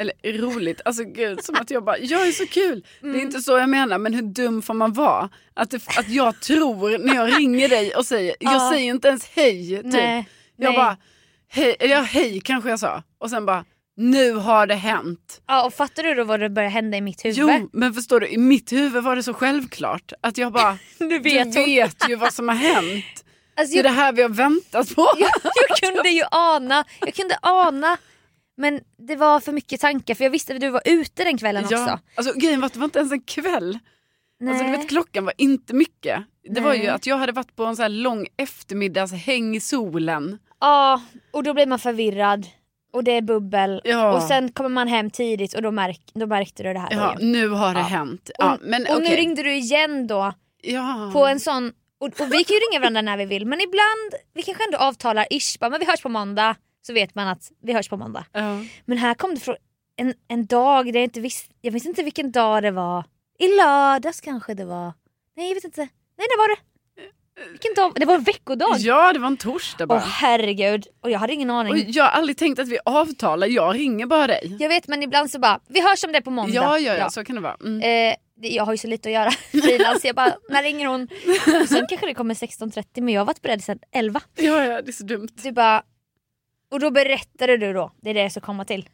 S1: Eller roligt, alltså gud som att jag bara, jag är så kul. Det är inte så jag menar, men hur dum får man vara? Att, det, att jag tror när jag ringer dig och säger, jag
S2: Ja.
S1: säger inte ens hej. Typ.
S2: Nej,
S1: jag
S2: nej.
S1: bara, hej, eller ja, hej kanske jag sa. Och sen bara, nu har det hänt.
S2: Ja, och fattar du då vad det börjar hända i mitt huvud?
S1: Jo, men förstår du, i mitt huvud var det så självklart att jag bara,
S2: du
S1: du
S2: vet. hon.
S1: vet ju vad som har hänt.
S2: Alltså,
S1: Det är
S2: jag,
S1: det här vi har väntat på.
S2: jag, jag kunde ju ana, jag kunde ana. Men det var för mycket tankar för jag visste att du var ute den kvällen också.
S1: Alltså, grejen var att det var inte ens en kväll.
S2: Nej.
S1: Alltså, du vet, klockan var inte mycket. Det var ju
S2: Nej.
S1: att jag hade varit på en så här lång eftermiddagshäng i solen.
S2: Ja, och då blir man förvirrad. Och det är bubbel.
S1: Ja.
S2: Och sen kommer man hem tidigt och då, märk, då märkte du det här.
S1: Ja,
S2: Roger.
S1: nu har det
S2: Ja.
S1: hänt. Ja,
S2: Och-
S1: men,
S2: och nu
S1: okej.
S2: ringde du igen då
S1: ja.
S2: på en sån... Och, och vi kan ju ringa varandra när vi vill men ibland, vi kanske ändå avtalar ish, bara, men vi hörs på måndag. Så vet man att vi hörs på måndag.
S1: Ja.
S2: Men här kom det från en, en dag där jag inte visste, jag visste inte vilken dag det var. I lördags kanske det var. Nej jag vet inte. Nej det var det. Vilken dag? Det var en veckodag.
S1: ja, det var en torsdag
S2: Åh
S1: bara.
S2: herregud. Och jag hade ingen aning.
S1: och jag har aldrig tänkt att vi avtalar, jag ringer bara dig.
S2: Jag vet men ibland så bara, vi hörs om det på måndag.
S1: Ja, ja, ja, så kan det vara. Mm.
S2: Eh, det- jag har ju så lite att göra frilans, jag bara, när ringer hon? Och sen kanske det kommer 16.30 men jag har varit beredd sedan 11.
S1: Ja, ja, det är så dumt.
S2: Du bara, och då berättade du då, det är det jag ska komma till.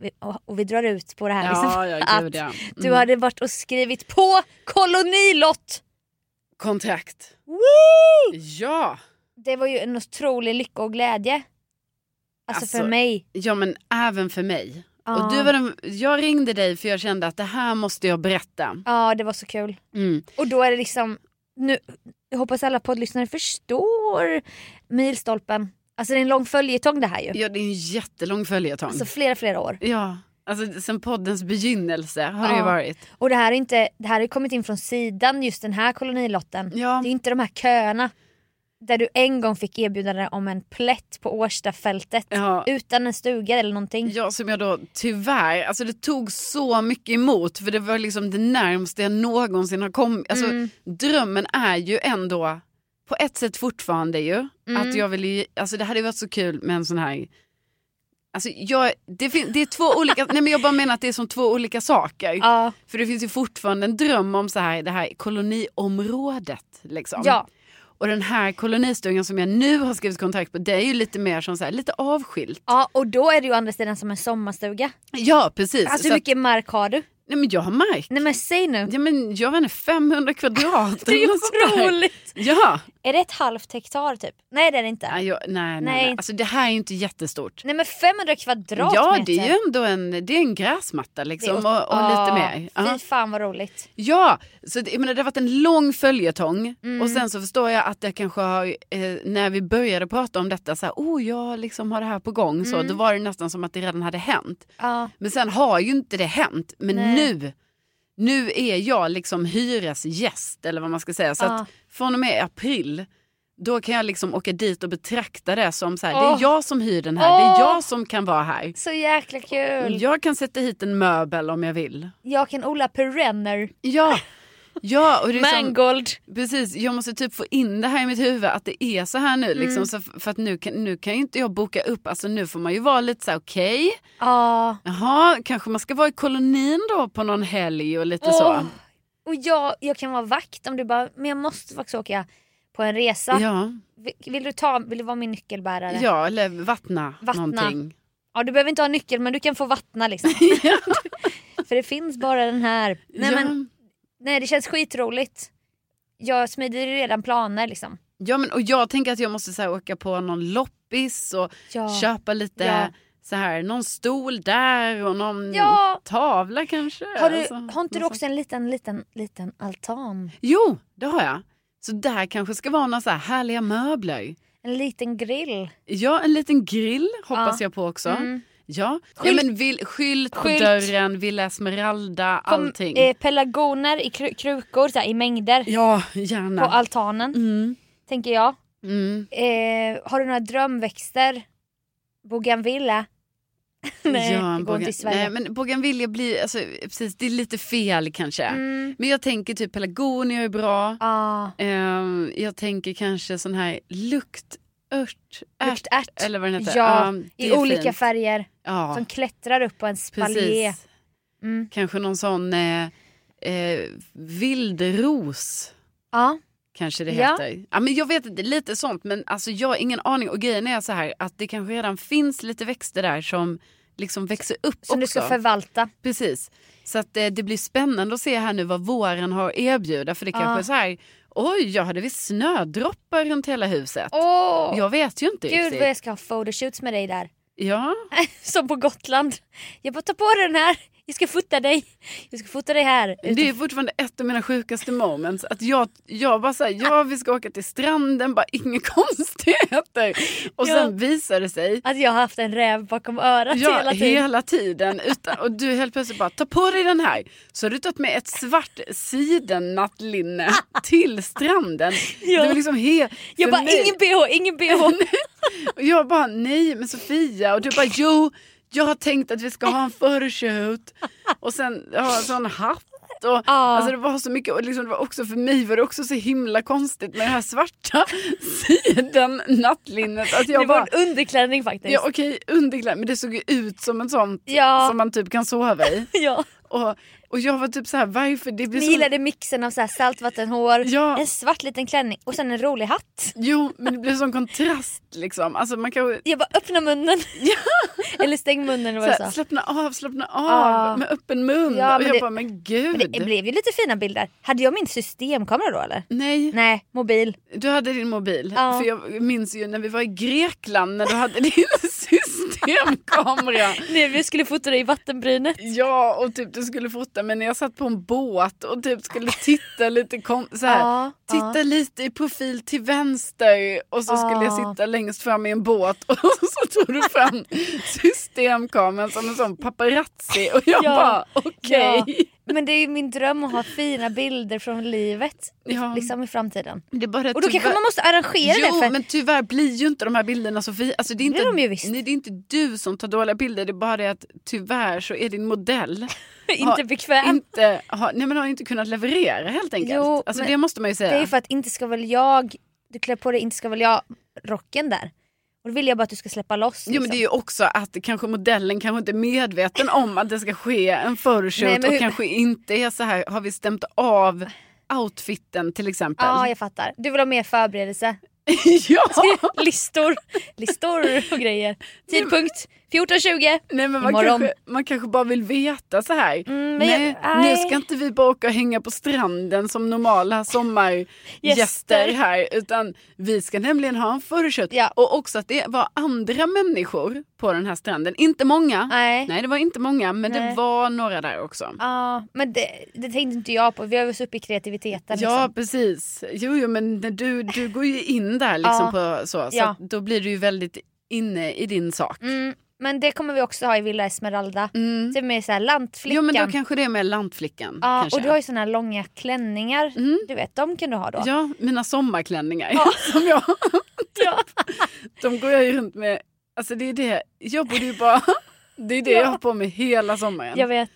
S2: Vi- Och, och vi drar ut på det här. liksom,
S1: Ja, ja,
S2: Mm. att
S1: gud ja. Mm.
S2: Du hade varit och skrivit på kolonilott!
S1: Kontrakt.
S2: Woo!
S1: Ja.
S2: Det var ju en otrolig lycka och glädje. Alltså,
S1: Alltså,
S2: för mig.
S1: ja, men även för mig.
S2: Ja.
S1: Och du var den, jag ringde dig för jag kände att det här måste jag berätta.
S2: Ja det var så kul.
S1: Mm.
S2: Och då är det liksom, nu, jag hoppas alla poddlyssnare förstår milstolpen. Alltså det är en lång följetong det här ju.
S1: Ja, det är en jättelång följetong.
S2: Alltså flera flera år.
S1: ja, alltså sen poddens begynnelse har det ju
S2: Ja.
S1: varit.
S2: Och det här, är inte, det här har ju kommit in från sidan just den här kolonilotten.
S1: Ja,
S2: Det är inte de här köerna där du en gång fick erbjudande om en plätt på Årstafältet
S1: ja,
S2: utan en stuga eller någonting.
S1: ja, som jag då tyvärr, alltså det tog så mycket emot för det var liksom det närmaste jag någonsin har kommit. Alltså
S2: Mm.
S1: drömmen är ju ändå på ett sätt fortfarande ju
S2: Mm.
S1: att jag vill ju, alltså det hade ju varit så kul med en sån här Alltså jag, det, fin- det är två olika, nej men jag bara menar att det är som två olika saker.
S2: Ja,
S1: För det finns ju fortfarande en dröm om så här, det här koloniområdet. Liksom.
S2: ja,
S1: Och den här kolonistugan som jag nu har skrivit kontrakt på, det är ju lite mer som så här, lite avskilt.
S2: ja, och då är det ju å andra sidan som en sommarstuga.
S1: Ja, precis.
S2: Alltså
S1: så
S2: hur
S1: att,
S2: mycket mark har du?
S1: nej, men jag har mark.
S2: Nej men säg nu.
S1: Ja, men, jag vet inte, 500 kvadrat.
S2: Det är
S1: eller något sånt där.
S2: otroligt!
S1: Ja.
S2: Är det ett halvt hektar typ? Nej det är det inte.
S1: Nej, jag, nej, nej,
S2: Nej.
S1: nej. Alltså, det här är ju inte jättestort.
S2: Nej men 500 kvadratmeter.
S1: Ja, det är ju ändå en, det är en gräsmatta
S2: Det är
S1: liksom, och,
S2: åt-
S1: och lite
S2: Ah,
S1: mer. Ja.
S2: Fy fan vad roligt.
S1: Ja, så det, jag menar, det har varit en lång följetong
S2: Mm.
S1: och sen så förstår jag att det kanske har, eh, när vi började prata om detta, så här, oh jag liksom har det här på gång, så,
S2: Mm.
S1: då var det nästan som att det redan hade hänt.
S2: Ja,
S1: Men sen har ju inte det hänt, men
S2: Nej.
S1: nu, nu är jag liksom hyresgäst eller vad man ska säga. Så
S2: Ja.
S1: att från och med april, då kan jag liksom åka dit och betrakta det som så här, det
S2: Åh.
S1: är jag som hyr den här, det
S2: Åh.
S1: är jag som kan vara här.
S2: så jäkla kul.
S1: Jag kan sätta hit en möbel om jag vill.
S2: Jag kan odla perenner.
S1: Ja, ja och det är som,
S2: Mangold.
S1: Precis, jag måste typ få in det här i mitt huvud att det är så här nu. Liksom,
S2: Mm.
S1: så f- för att nu kan, nu kan ju inte jag boka upp, alltså nu får man ju vara lite så här okej,
S2: Ja.
S1: jaha, kanske man ska vara i kolonin då på någon helg och lite
S2: Åh.
S1: så.
S2: Och jag, jag kan vara vakt om du bara, men jag måste faktiskt åka på en resa.
S1: Ja,
S2: Vill, vill du ta, vill du vara min nyckelbärare?
S1: ja, eller vattna,
S2: Vattna.
S1: någonting.
S2: Ja, du behöver inte ha nyckel men du kan få vattna liksom.
S1: ja.
S2: För det finns bara den här. Nej,
S1: ja.
S2: men, nej det känns skitroligt. Jag smider ju redan planer liksom.
S1: ja, men och jag tänker att jag måste så här, åka på någon loppis och
S2: Ja.
S1: köpa lite
S2: Ja.
S1: så här, någon stol där och någon
S2: Ja.
S1: tavla kanske.
S2: Har, du,
S1: Alltså,
S2: har inte du
S1: något
S2: också en liten, liten, liten altan?
S1: Jo, det har jag. Så där kanske ska vara några så här härliga möbler.
S2: En liten grill?
S1: Ja, en liten grill hoppas
S2: Ja.
S1: jag på också.
S2: Mm.
S1: Ja.
S2: Skylt.
S1: ja, men vill, skylt på
S2: Skylt.
S1: dörren, Villa Esmeralda,
S2: Kom,
S1: allting.
S2: Eh, pelargoner i kru- krukor så här, i mängder
S1: Ja,
S2: på
S1: gärna.
S2: altanen
S1: Mm,
S2: tänker jag.
S1: mm.
S2: Eh, har du några drömväxter? Bougainville? Nej,
S1: Ja,
S2: det går
S1: Bogan-
S2: inte i Sverige.
S1: Nej, men bougainvillea blir, alltså, precis, det är lite fel kanske.
S2: mm.
S1: Men jag tänker typ pelargonier är bra.
S2: ah,
S1: Ehm, jag tänker kanske sån här lukt, Ört, ärt,
S2: Örtärt.
S1: eller vad den heter.
S2: Ja,
S1: det
S2: I
S1: är
S2: olika
S1: fint.
S2: färger
S1: Ja,
S2: som klättrar upp på en spaljé.
S1: precis.
S2: Mm.
S1: Kanske någon sån eh, eh, vildros.
S2: Ja,
S1: Kanske det
S2: Ja.
S1: heter. Ja, men jag vet inte, lite sånt. Men alltså, jag har ingen aning. Och grejen är så här att det kanske redan finns lite växter där som liksom växer upp
S2: som
S1: också.
S2: du ska förvalta.
S1: Precis. Så att, eh, det blir spännande att se här nu vad våren har att erbjuda. För det
S2: Ja.
S1: kanske är så här, oj, jag hade visst snödroppar runt hela huset.
S2: Åh!
S1: Jag vet ju inte
S2: Gud
S1: riktigt.
S2: vad jag ska ha photoshoots med dig där.
S1: Ja,
S2: Som på Gotland. Jag bara ta på dig den här. Jag ska fota dig. Jag ska fota dig här.
S1: det är fortfarande ett av mina sjukaste moments. Att jag, jag bara säger ja vi ska åka till stranden, bara inga konstigheter. Och
S2: Ja.
S1: sen visar det sig
S2: Att jag har haft en räv bakom örat
S1: Ja,
S2: hela tiden.
S1: tiden. Utan, och du helt plötsligt bara, ta på dig den här. Så har du tagit med ett svart sidennattlinne till stranden.
S2: Ja.
S1: Det var liksom he-
S2: Jag
S1: för
S2: bara
S1: mig-
S2: ingen bh, ingen bh.
S1: Och jag bara, nej men Sofia. Och du bara, jo, jag har tänkt att vi ska ha en photoshoot. Och sen ha en sån hatt. Och, Alltså det var så mycket, och liksom, det var också för mig var det också så himla konstigt med det här svarta sidennattlinnet. Att jag
S2: det
S1: bara,
S2: var en underklänning faktiskt.
S1: ja okej underklädd, men det såg ju ut som en sån
S2: Ja.
S1: som man typ kan sova i.
S2: ja.
S1: Och, och jag var typ så här, varför? Det blir
S2: Ni
S1: så...
S2: gillade mixen av så här saltvattenhår,
S1: Ja.
S2: en svart liten klänning och sen en rolig hatt.
S1: Jo, men det blir sån kontrast liksom. Alltså man kan
S2: Jag bara öppna munnen. Eller stäng munnen eller
S1: så
S2: vad jag
S1: här,
S2: sa.
S1: slappna av, slappna av
S2: Ja.
S1: med öppen mun.
S2: Ja,
S1: och
S2: men
S1: jag
S2: det-
S1: bara, men gud.
S2: Men det blev ju lite fina bilder. Hade jag min systemkamera då eller?
S1: Nej,
S2: Nej, mobil.
S1: du hade din mobil.
S2: Ja.
S1: För jag minns ju när vi var i Grekland när du hade din systemkamera.
S2: Nej, vi skulle fota dig i vattenbrynet.
S1: Ja, och typ du skulle fota men när jag satt på en båt och typ skulle titta lite kon- så här.
S2: Ja,
S1: Titta lite i profil till vänster och så skulle jag
S2: Ah.
S1: sitta längst fram i en båt och så tog du fram systemkameran som en sån paparazzi och jag
S2: Ja.
S1: bara okej.
S2: ja. Men det är ju min dröm att ha fina bilder från livet
S1: Ja.
S2: liksom i framtiden.
S1: Det är bara
S2: Och då kanske man måste arrangera det.
S1: Jo
S2: För...
S1: men tyvärr blir ju inte de här bilderna Sofie. Alltså, det, är inte,
S2: Det är de ju visst.
S1: Nej, det är inte du som tar dåliga bilder det är bara det att tyvärr så är din modell
S2: inte
S1: Ja,
S2: bekväm.
S1: inte, har, nej, men har inte kunnat leverera helt enkelt.
S2: Jo,
S1: alltså,
S2: men
S1: det måste man ju säga.
S2: Det är ju för att inte ska väl jag, du klär på dig inte ska väl jag rocken där. Och då vill jag bara att du ska släppa loss. liksom.
S1: Jo men det är ju också att kanske modellen kanske inte är medveten om att det ska ske en
S2: Nej,
S1: photoshoot
S2: men
S1: och
S2: hur-
S1: kanske inte är så här, har vi stämt av outfiten till exempel?
S2: Ja jag fattar. Du vill ha mer förberedelse.
S1: ja.
S2: Listor, listor och grejer. Tidpunkt 14.20.
S1: Nej, men man,
S2: Imorgon.
S1: kanske, man kanske bara vill veta så här.
S2: Mm, men jag-
S1: nej,
S2: nej.
S1: nu ska inte vi bara åka och hänga på stranden som normala sommargäster
S2: Gäster.
S1: här utan vi ska nämligen ha en photoshoot.
S2: Ja.
S1: Och också att det var andra människor på den här stranden. Inte många.
S2: Nej.
S1: Nej, det var inte många men det
S2: Nej.
S1: var några där också.
S2: Ja men det, det tänkte inte jag på. Vi har ju så uppe i kreativiteten.
S1: Ja
S2: liksom.
S1: precis. Jo, jo men när du, du går ju in där liksom på så. Så
S2: Ja.
S1: att då blir du ju väldigt inne i din sak.
S2: mm, men det kommer vi också ha i Villa Esmeralda.
S1: Mm.
S2: Det är mer såhär lantflickan.
S1: Jo men då kanske det är med lantflickan.
S2: Ja,
S1: kanske.
S2: och du har ju såna här långa klänningar.
S1: Mm.
S2: Du vet de kan du ha då.
S1: Ja, mina sommarklänningar.
S2: Ja.
S1: Som jag,
S2: Ja.
S1: de går jag ju runt med. Alltså det är det, jag borde ju bara... Det är det
S2: Ja.
S1: jag har på mig hela sommaren.
S2: Jag vet.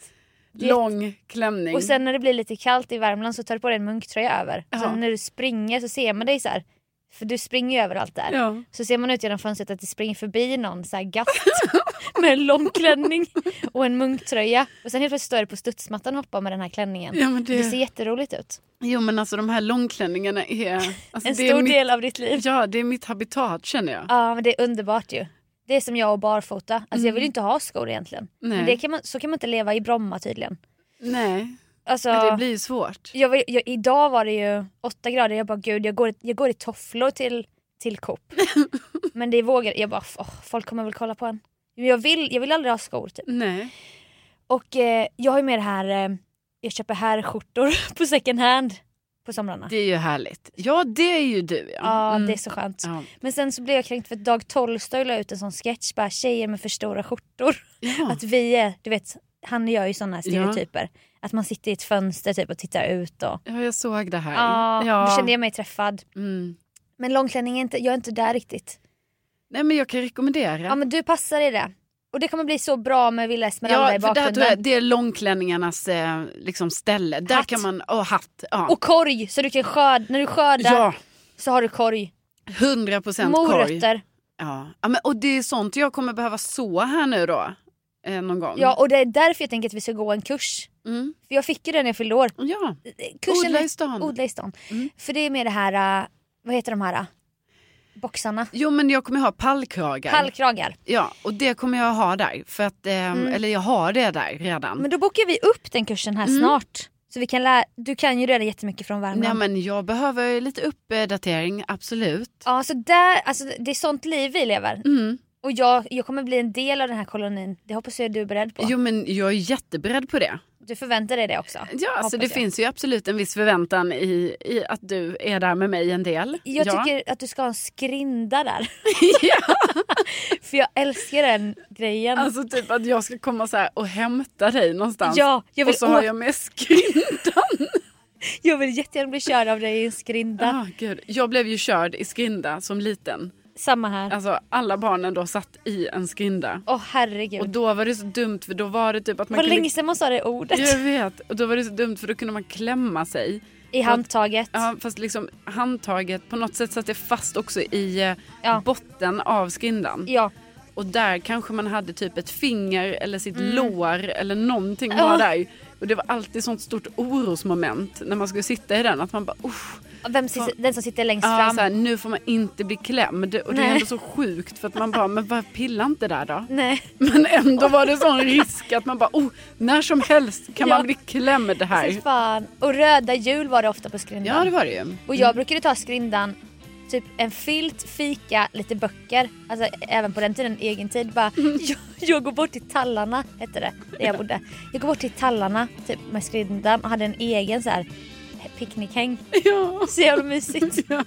S2: vet.
S1: Lång klänning.
S2: Och sen när det blir lite kallt i Värmland så tar du på dig en munktröja över. Och
S1: Ja.
S2: sen när du springer så ser man dig så här. För du springer ju överallt där.
S1: ja.
S2: Så ser man ut genom fönstret att det springer förbi någon så här gatt med en lång klänning och en munktröja. Och sen helt plötsligt står du på studsmattan och hoppar med den här klänningen.
S1: ja men
S2: Det ser
S1: det,
S2: jätteroligt ut.
S1: jo men alltså de här långklänningarna är... Alltså,
S2: En
S1: det är
S2: stor
S1: mitt,
S2: del av ditt liv.
S1: Ja, det är mitt habitat känner jag.
S2: Ja men det är underbart ju. Det är som jag och barfota. Alltså jag vill ju inte ha skor egentligen.
S1: Mm. Nej.
S2: Men det kan man, så kan man inte leva i Bromma tydligen.
S1: Nej,
S2: Alltså,
S1: men det blir ju svårt.
S2: jag, vill- jag, idag var det ju åtta grader, jag bara gud jag går, jag går i tofflor till, till Coop. Men det vågar jag bara åh, folk kommer väl kolla på en. Men Jag vill, jag vill aldrig ha skor typ.
S1: Nej.
S2: Och eh, jag har ju med det här, eh, jag köper här skjortor på second hand på somrarna.
S1: Det är ju härligt. Ja, det är ju du ja.
S2: Ja
S1: Mm.
S2: det är så skönt.
S1: ja.
S2: Men sen så blev jag kränkt för att Dag Tolstoy la ut en sån sketch bara tjejer med för stora skjortor.
S1: Ja.
S2: Att vi är, du vet han gör ju såna här stereotyper. Att man sitter i ett fönster typ och tittar ut och
S1: ja, jag såg det här.
S2: ja, då
S1: ja.
S2: kände jag mig träffad.
S1: Mm.
S2: Men långklänning är inte, jag är inte där riktigt.
S1: Nej men jag kan rekommendera.
S2: Ja men du passar i det. Och det kommer bli så bra med Villa Esmeralda i
S1: Ja, för där
S2: bakgrunden.
S1: tror jag, det är långklänningarnas eh, liksom ställe. Där
S2: Hatt.
S1: kan man, och hatt. Ja.
S2: Och korg! Så du kan skörda, när du skördar
S1: ja,
S2: så har du korg.
S1: 100 procent korg.
S2: Morötter.
S1: Ja. Ja, men, och det är sånt jag kommer behöva så här nu då. Eh, någon gång.
S2: Ja, och det är därför jag tänker att vi ska gå en kurs.
S1: Mm.
S2: För jag fick ju den när jag fyllde år.
S1: ja.
S2: Kursen
S1: odla i stan.
S2: Odla i stan.
S1: Mm.
S2: För det är med det här, äh, vad heter de här? äh, Boxarna.
S1: Jo men jag kommer ha pallkragar.
S2: Pallkragar.
S1: Ja, och det kommer jag ha där. För att, ehm,
S2: Mm.
S1: Eller jag har det där redan.
S2: Men då bokar vi upp den kursen här
S1: Mm.
S2: snart. Så vi kan lära, du kan ju redan jättemycket från Värmland.
S1: Nej, men jag behöver lite uppdatering, absolut.
S2: Ja, så där, alltså, det är sånt liv vi lever.
S1: Mm.
S2: Och jag, jag kommer bli en del av den här kolonin. Det hoppas jag du är beredd på.
S1: Jo men jag är jätteberedd på det.
S2: Du förväntar dig det också.
S1: Ja,
S2: Hoppas
S1: så det
S2: jag.
S1: finns ju absolut en viss förväntan i, i att du är där med mig en del.
S2: Jag
S1: ja.
S2: tycker att du ska ha en skrinda där.
S1: ja,
S2: För jag älskar den grejen.
S1: alltså typ att jag ska komma så här och hämta dig någonstans.
S2: ja, jag vill,
S1: och så har
S2: åh, jag...
S1: jag med skrindan.
S2: vill jättegärna bli körd av dig i en skrinda.
S1: Ah, Gud. Jag blev ju körd i skrinda som liten.
S2: Samma här.
S1: Alltså alla barnen då satt i en skrinda.
S2: Åh
S1: Och
S2: herregud.
S1: då var det så dumt för då var det typ att man
S2: Vad
S1: kunde...
S2: länge sedan man sa det ordet.
S1: Jag vet. Och då var det så dumt för då kunde man klämma sig.
S2: I handtaget.
S1: Ja, fast liksom handtaget på något sätt satt det fast också i eh,
S2: Ja.
S1: botten av skindan.
S2: Ja.
S1: Och där kanske man hade typ ett finger eller sitt
S2: Mm.
S1: lår eller någonting
S2: Ja.
S1: var där. Och det var alltid sånt stort orosmoment när man skulle sitta i den. Att man bara usch,
S2: Vem, si- den som sitter längst
S1: ja,
S2: fram.
S1: så här, nu får man inte bli klämd. Och det
S2: Nej.
S1: är ändå så sjukt för att man bara, men varför pilla inte där då?
S2: Nej.
S1: Men ändå var det sån risk att man bara, oh, när som helst kan
S2: Ja.
S1: man bli klämd
S2: Fy
S1: här.
S2: fan. Och röda hjul var det ofta på skrindan.
S1: Ja det var det ju.
S2: Och jag brukade ta skrindan, typ en filt, fika, lite böcker. Alltså även på den tiden, egen tid. Bara,
S1: Mm.
S2: jag, jag går bort till tallarna, hette det, där jag bodde. Jag går bort till tallarna typ, med skrindan och hade en egen så här picknickhäng.
S1: Ja.
S2: Så jävla mysigt.
S1: Ja.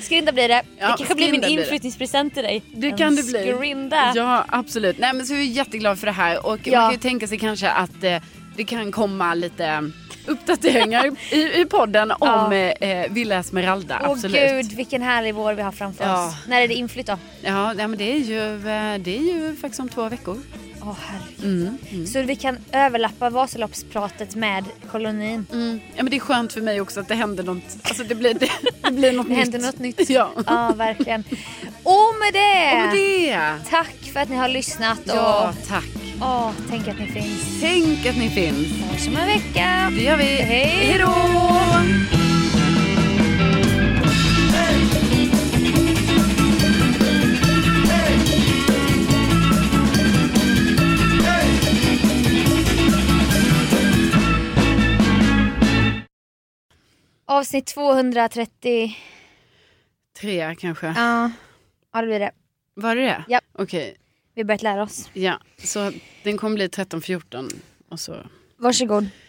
S2: Skrinda blir det.
S1: Ja,
S2: det kanske blir min
S1: skrinda blir det.
S2: inflyttningspresent till dig.
S1: Det
S2: en
S1: kan det bli.
S2: Skrinda.
S1: Ja, absolut. Nej, men så är vi jätteglada för det här. Och
S2: Ja.
S1: man kan ju tänka sig kanske att eh, det kan komma lite uppdateringar i, i podden om eh, Villa Esmeralda.
S2: Åh
S1: absolut.
S2: gud vilken härlig vår vi har framför
S1: Ja.
S2: oss. När är det inflytt då?
S1: Ja, nej, men det är, ju, eh, det är ju faktiskt om två veckor.
S2: Åh herregud.
S1: Mm.
S2: Så vi kan överlappa Vasaloppspratet med kolonin.
S1: Mm. Ja, men det är skönt för mig också att det händer något. Alltså det blir, det, det blir något
S2: Det
S1: nytt.
S2: händer något nytt.
S1: Ja.
S2: Ja, verkligen. Och med det,
S1: Och med det.
S2: tack för att ni har lyssnat.
S1: Ja,
S2: Och,
S1: tack.
S2: Åh, tänk att ni finns.
S1: Tänk att ni finns.
S2: Vi hörs om en vecka.
S1: Det gör vi.
S2: Hej.
S1: Hej då!
S2: Avsnitt 230.
S1: Tre kanske.
S2: Ja, ja det blir det.
S1: Var det det?
S2: Japp.
S1: Okej.
S2: Vi har börjat lära oss.
S1: Ja, så den kommer bli 13-14 och så
S2: Varsågod.